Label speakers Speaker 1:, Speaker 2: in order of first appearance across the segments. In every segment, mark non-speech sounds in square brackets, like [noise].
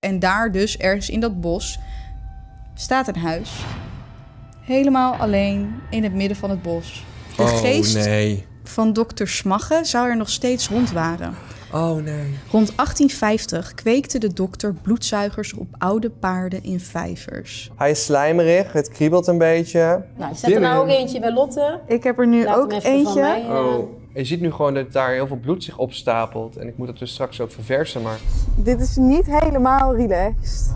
Speaker 1: En daar dus, ergens in dat bos, staat een huis. Helemaal alleen in het midden van het bos. De
Speaker 2: oh
Speaker 1: geest
Speaker 2: nee.
Speaker 1: van dokter Smagge zou er nog steeds rond waren.
Speaker 2: Oh nee.
Speaker 1: Rond 1850 kweekte de dokter bloedzuigers op oude paarden in vijvers.
Speaker 2: Hij is slijmerig, het kriebelt een beetje.
Speaker 3: Nou, zet er nou ook eentje bij Lotte.
Speaker 1: Ik heb er nu
Speaker 3: Laat
Speaker 1: ook
Speaker 3: hem even van mij.
Speaker 1: eentje.
Speaker 3: eh,
Speaker 2: Oh. Je ziet nu gewoon dat daar heel veel bloed zich opstapelt. En ik moet dat dus straks ook verversen, maar...
Speaker 1: Dit is niet helemaal relaxed.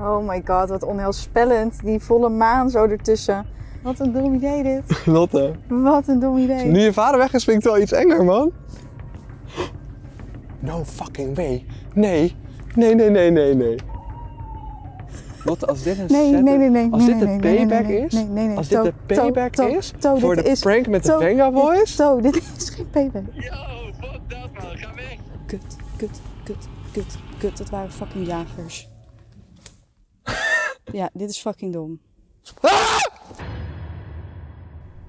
Speaker 1: Oh my god, wat onheilspellend. Die volle maan zo ertussen. Wat een dom idee dit.
Speaker 2: Lotte,
Speaker 1: Wat een dom idee.
Speaker 2: je vader weg is, vind ik het wel iets enger, man. No fucking way. Nee. Nee, nee, nee, nee, nee. Lotte, als dit een
Speaker 1: Nee,
Speaker 2: setup-
Speaker 1: nee, nee, nee.
Speaker 2: Als
Speaker 1: nee,
Speaker 2: dit
Speaker 1: nee,
Speaker 2: de
Speaker 1: nee, nee,
Speaker 2: payback
Speaker 1: nee, nee,
Speaker 2: is,
Speaker 1: nee, nee, nee.
Speaker 2: als dit
Speaker 1: Zo,
Speaker 2: de payback
Speaker 1: zo,
Speaker 2: is
Speaker 1: zo,
Speaker 2: voor
Speaker 1: dit
Speaker 2: de
Speaker 1: is-
Speaker 2: prank met de
Speaker 1: zo,
Speaker 2: Venga
Speaker 1: dit-
Speaker 2: Boys?
Speaker 1: Zo, dit is geen payback.
Speaker 4: Yo, fuck dat man, ga weg.
Speaker 1: Kut, kut, kut, kut, kut. Dat waren fucking
Speaker 2: [laughs]
Speaker 1: jagers. ja, dit is fucking dom.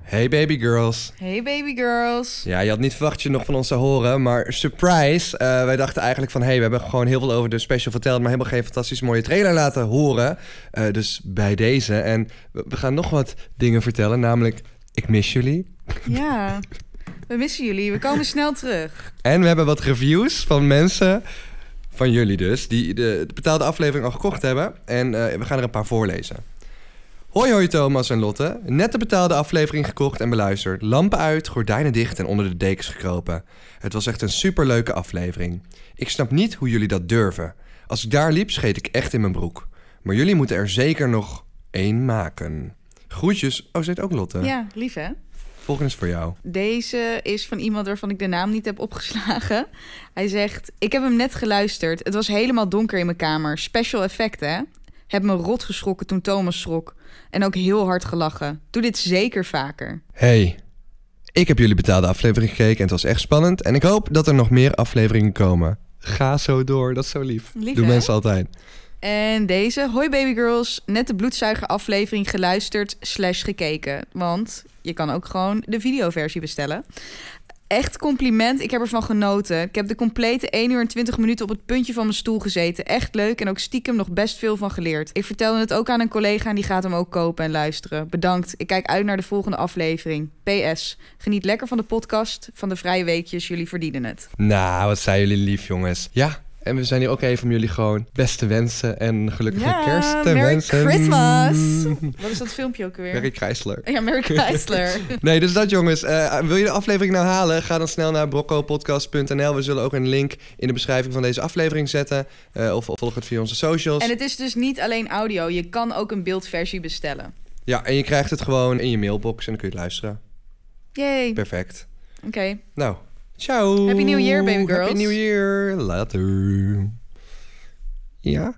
Speaker 5: Hey baby girls.
Speaker 6: Hey baby girls.
Speaker 5: Ja, je had niet verwacht dat je nog van ons zou horen, maar surprise. eh, wij dachten eigenlijk van, hey, we hebben gewoon heel veel over de special verteld, maar helemaal geen fantastisch mooie trailer laten horen. Eh, dus bij deze. En we, we gaan nog wat dingen vertellen, namelijk, ik mis jullie.
Speaker 6: Ja, we missen jullie. We komen snel terug.
Speaker 5: En we hebben wat reviews van mensen, van jullie dus, die de, de betaalde aflevering al gekocht hebben. En eh, we gaan er een paar voorlezen. Hoi hoi Thomas en Lotte. Net de betaalde aflevering gekocht en beluisterd. Lampen uit, gordijnen dicht en onder de dekens gekropen. Het was echt een superleuke aflevering. Ik snap niet hoe jullie dat durven. Als ik daar liep, scheet ik echt in mijn broek. Maar jullie moeten er zeker nog één maken. Groetjes. Oh, zit ook Lotte.
Speaker 6: Ja, lief hè?
Speaker 5: Volgende is voor jou.
Speaker 6: Deze is van iemand waarvan ik de naam niet heb opgeslagen. Hij zegt: Ik heb hem net geluisterd. Het was helemaal donker in mijn kamer. Special effect, hè? Heb me rot geschrokken toen Thomas schrok. En ook heel hard gelachen. Doe dit zeker vaker.
Speaker 5: Hey, ik heb jullie betaalde aflevering gekeken en het was echt spannend. En ik hoop dat er nog meer afleveringen komen. Ga zo door, dat is zo lief.
Speaker 6: Lief,
Speaker 5: Doen
Speaker 6: hè?
Speaker 5: mensen altijd.
Speaker 6: En deze: Hoi baby girls. Net de bloedzuigeraflevering geluisterd, slash gekeken. Want je kan ook gewoon de videoversie bestellen. Echt compliment. Ik heb ervan genoten. Ik heb de complete 1 uur en 20 minuten op het puntje van mijn stoel gezeten. Echt leuk en ook stiekem nog best veel van geleerd. Ik vertelde het ook aan een collega en die gaat hem ook kopen en luisteren. Bedankt. Ik kijk uit naar de volgende aflevering. PS. Geniet lekker van de podcast, van de vrije weekjes. Jullie verdienen het.
Speaker 5: Nou, wat zijn jullie lief, jongens. Ja, en we zijn hier ook even om jullie gewoon beste wensen en gelukkige
Speaker 6: Ja,
Speaker 5: kerst te
Speaker 6: Merry
Speaker 5: wensen.
Speaker 6: Christmas.
Speaker 5: Mm.
Speaker 6: Wat is dat filmpje ook
Speaker 5: [laughs]
Speaker 6: weer?
Speaker 5: Merry Chrysler.
Speaker 6: Ja, Merry Chrysler.
Speaker 5: Nee, dus dat jongens. Eh, wil je de aflevering nou halen? Ga dan snel naar broccopodcast.nl. We zullen ook een link in de beschrijving van deze aflevering zetten. Eh, of volg het via onze socials.
Speaker 6: En het is dus niet alleen audio, je kan ook een beeldversie bestellen.
Speaker 5: Ja, en je krijgt het gewoon in je mailbox en dan kun je het luisteren.
Speaker 6: Yay. Oké.
Speaker 5: Perfect. Nou, ciao.
Speaker 6: Happy New Year, baby girls.
Speaker 5: Happy New Year. Later. Ja?